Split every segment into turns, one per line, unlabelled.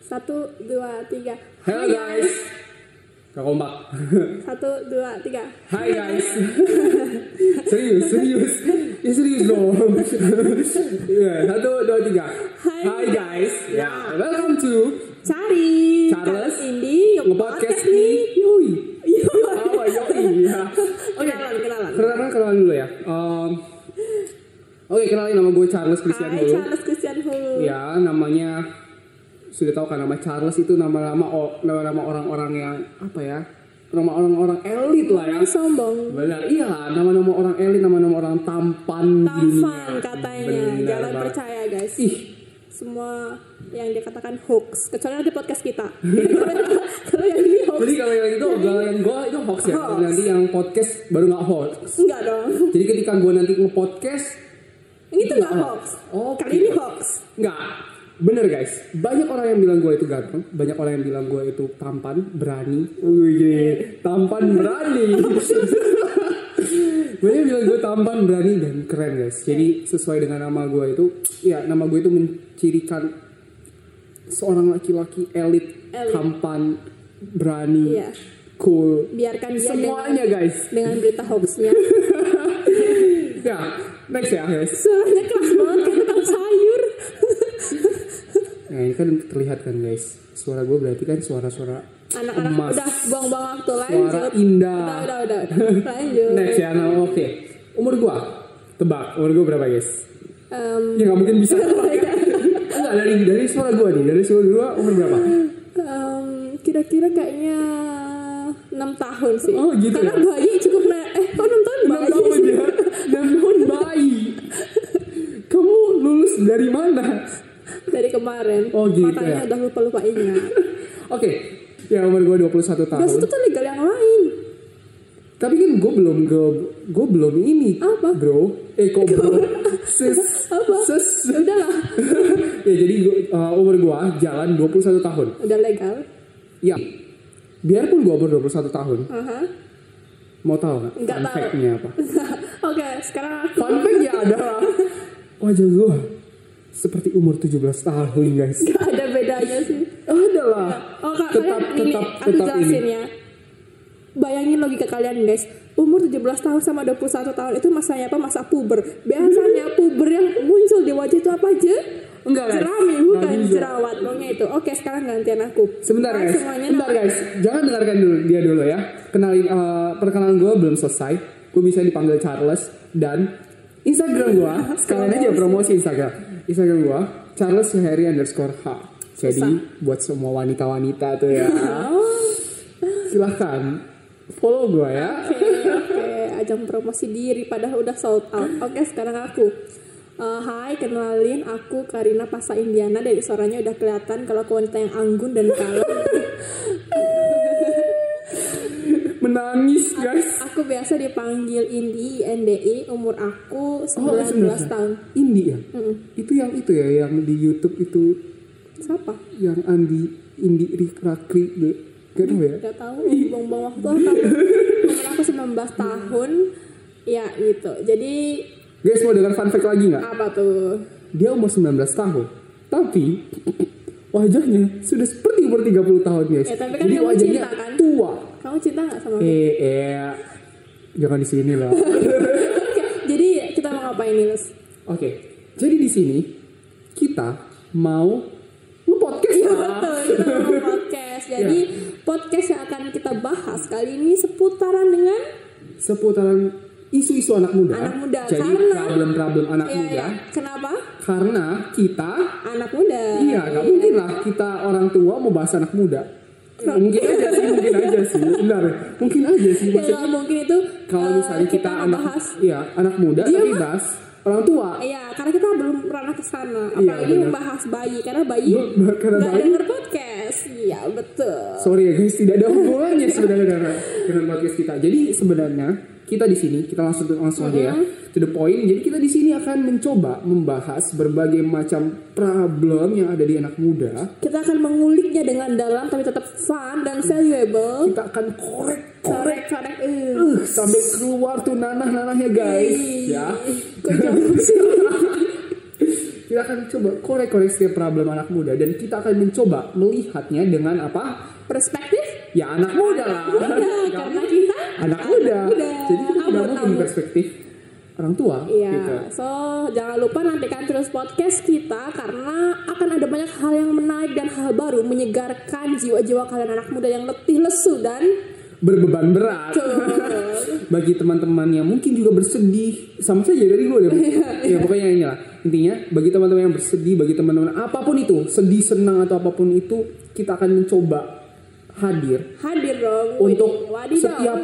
Satu, dua, tiga.
Halo guys. Gak kompak.
Satu, dua, tiga.
Hai guys. serius, serius. Ya serius dong. Iya, satu, dua, tiga.
Hai.
guys. Ya, welcome to
Cari.
Charles.
Indi.
podcast ini. Yoi. Oh, yoi. Ya. Oke.
Kenalan, kenalan.
Kenalan, kenalan dulu ya. Um, Oke, kenalin nama gue Charles Christian
Hai,
dulu.
Charles Christian Hulu.
Ya, namanya sudah tahu kan nama Charles itu nama-nama o- nama-nama orang-orang yang apa ya? Nama orang-orang elit lah ya.
Sombong.
Benar, iya nama-nama orang elit, nama-nama orang tampan
Tampan
dunia.
katanya.
Benar
Jangan
banget.
percaya guys.
Ih,
Semua yang dikatakan hoax. Kecuali nanti podcast kita. Kalau yang ini hoax.
jadi kalau yang itu, kalau yang gue itu hoax ya.
Hoax.
Nanti yang podcast baru nggak hoax.
Enggak dong.
Jadi ketika gue nanti nge-podcast,
Ini tuh enggak hoax.
Oh,
Kali ini hoax.
nggak. Bener guys, banyak orang yang bilang gue itu ganteng, banyak orang yang bilang gue itu tampan, berani. Wih, tampan berani. banyak yang bilang gue tampan, berani dan keren guys. Jadi sesuai dengan nama gue itu, ya nama gue itu mencirikan seorang laki-laki elit,
Elit.
tampan, berani,
Iya.
cool.
Biarkan dia dengan,
Semuanya guys.
dengan berita hoaxnya.
Ya, next ya guys.
Suaranya keras banget kayak tukang sayur.
Nah ini kan terlihat kan guys Suara gue berarti kan suara-suara
Anak-anak
Emas.
udah buang-buang waktu lanjut.
Suara indah
Udah, udah, udah. udah. Lanjut.
Next ya nah, oke Umur gue Tebak umur gue berapa guys
Em,
Ya gak mungkin bisa Enggak dari, dari suara gue nih Dari suara gue umur berapa
em, kira-kira kayaknya 6 tahun sih.
Oh, gitu
Karena
ya?
bayi cukup na eh kok 6 tahun
6
bayi
tahun
sih?
ya 6 tahun bayi Kamu lulus dari mana
Dari kemarin.
Oh, gitu
Makanya
ya.
udah lupa-lupa ingat.
Oke Ya umur gue 21 tahun
Terus itu tuh legal yang lain.
Tapi kan gue belum gue, gue belum ini
Apa?
Bro Eh kok bro Sis
Apa?
Sis
Ya udahlah,
ya jadi gua, uh, umur gua jalan 21 tahun.
udah legal.
Ya. Biarpun gua umur 21 tahun,
Aha.
mau tahu nggak
Nggak
fun
tahu.
fact-nya apa?
Oke, sekarang aku
Fun fact ya adalah wajah gua Oh, seperti umur 17 tahun, guys.
gak ada bedanya sih.
Adalah.
Oh kak,
tetap
kalian ini
tetap
aku
tetap ini.
jelasin ya. Bayangin logika kalian guys. Umur 17 tahun sama 21 tahun itu masanya apa? Masa puber. Biasanya puber yang muncul di wajah itu apa aja?
Enggak, guys.
Jerami
Nggak
bukan
bisa.
jerawat. Pokoknya itu. Oke, sekarang gantian aku.
Sebentar
Nah,
guys,
Semuanya
sebentar guys, jangan dengarkan dulu dia dulu ya. Kenalin eh, perkenalan gue belum selesai. Gue bisa dipanggil Charles dan Instagram gue. Sekalian aja promosi Instagram. Instagram gue Charles Syaheri underscore H. Jadi buat semua wanita-wanita tuh ya,
Oh,
silahkan follow gue ya.
Oke, oke. ajang promosi diri padahal udah sold out. Oke, sekarang aku. Eh, hai, kenalin aku Karina Pasa Indiana dari suaranya udah kelihatan kalau aku wanita yang anggun dan kalem.
Menangis guys.
Aku biasa dipanggil Indi, INDI, umur aku 19
Oh, 19.
tahun.
Indi ya.
Mm-mm.
Itu yang itu ya, yang di YouTube itu
Siapa?
yang Andi Indi Rikrakri. Gak tau ya.
Gak tau, buang-buang waktu apa. Umur aku 19 tahun, ya gitu. Jadi,
Guys mau dengar fun fact lagi nggak?
apa tuh?
Dia umur 19 tahun, tapi wajahnya sudah seperti umur 30 tahun guys.
Ya, tapi kan
Jadi
kamu
wajahnya
cinta, kan?
tua.
Kamu cinta gak sama aku?
Eh, eh, jangan di sini lah. Oke,
Oke, Jadi, kita mau ngapain nih, Lus?
jadi di sini kita mau nge-podcast lah.
Iya, Betul, kita mau podcast.
Iya.
Jadi, podcast yang akan kita bahas kali ini seputaran dengan...
seputaran isu-isu anak muda.
Anak muda,
Jadi
karena-
problem-problem anak
Ya,
muda.
ya. Kenapa?
Karena kita,
Anak muda.
iya, nggak mungkin lah kita orang tua mau bahas anak muda. Ya, mungkin aja sih, mungkin aja sih, benar. Mungkin aja sih,
Ya,
maksudnya
nggak mungkin itu
kalau
eh,
misalnya Iya. kita, anak
ngebahas
iya anak muda
Dia
tapi
mah-
bahas orang tua
Iya, karena kita belum ranah ke sana.
Iya,
Apalagi
benar.
membahas bayi karena bayi
Be- be- karena
nggak
bayi-
denger podcast. Iya, betul.
sorry ya guys tidak ada hubungannya sebenarnya dengan, dengan podcast kita jadi sebenarnya kita di sini kita langsung langsung aja ya to the point jadi kita di sini akan mencoba membahas berbagai macam problem yang ada di anak muda
Kita akan menguliknya dengan dalam tapi tetap fun dan valuable.
kita akan korek korek
Corek-corek. eh.
eh, sampai Ya. keluar tuh nanah nanahnya guys ya
Kok jauh sih?
Kita akan coba korek-korek setiap problem anak muda dan kita akan mencoba melihatnya dengan apa?
Perspektif?
Ya anak muda lah. Ya.
Udah, karena kita
anak muda.
muda.
Jadi kita tidak
Abot,
mungkin
abot.
perspektif orang tua
Iya,
gitu.
so jangan lupa nantikan terus podcast kita karena akan ada banyak hal yang menarik dan hal baru menyegarkan jiwa-jiwa kalian anak muda yang letih lesu dan
Berbeban berat. bagi teman-teman yang mungkin juga bersedih sama saja dari gue deh ya pokoknya ini lah intinya bagi teman-teman yang bersedih bagi teman-teman apapun itu sedih senang atau apapun itu kita akan mencoba hadir
hadir dong.
untuk
Wadidaw.
setiap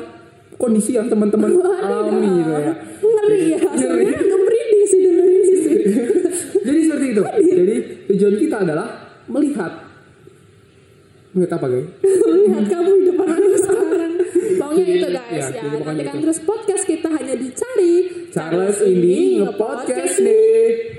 kondisi yang teman-teman alami gitu ya
Ngeri ya, sebenarnya agak merinding sih dengerin ini sih.
jadi seperti itu jadi tujuan kita adalah melihat melihat apa guys
Lihat kamu di depan aku sekarang. Pokoknya itu guys
Iya,
ya.
jadi pokoknya
Nantikan
itu.
terus podcast kita hanya dicari
Charles ini ngepodcast nih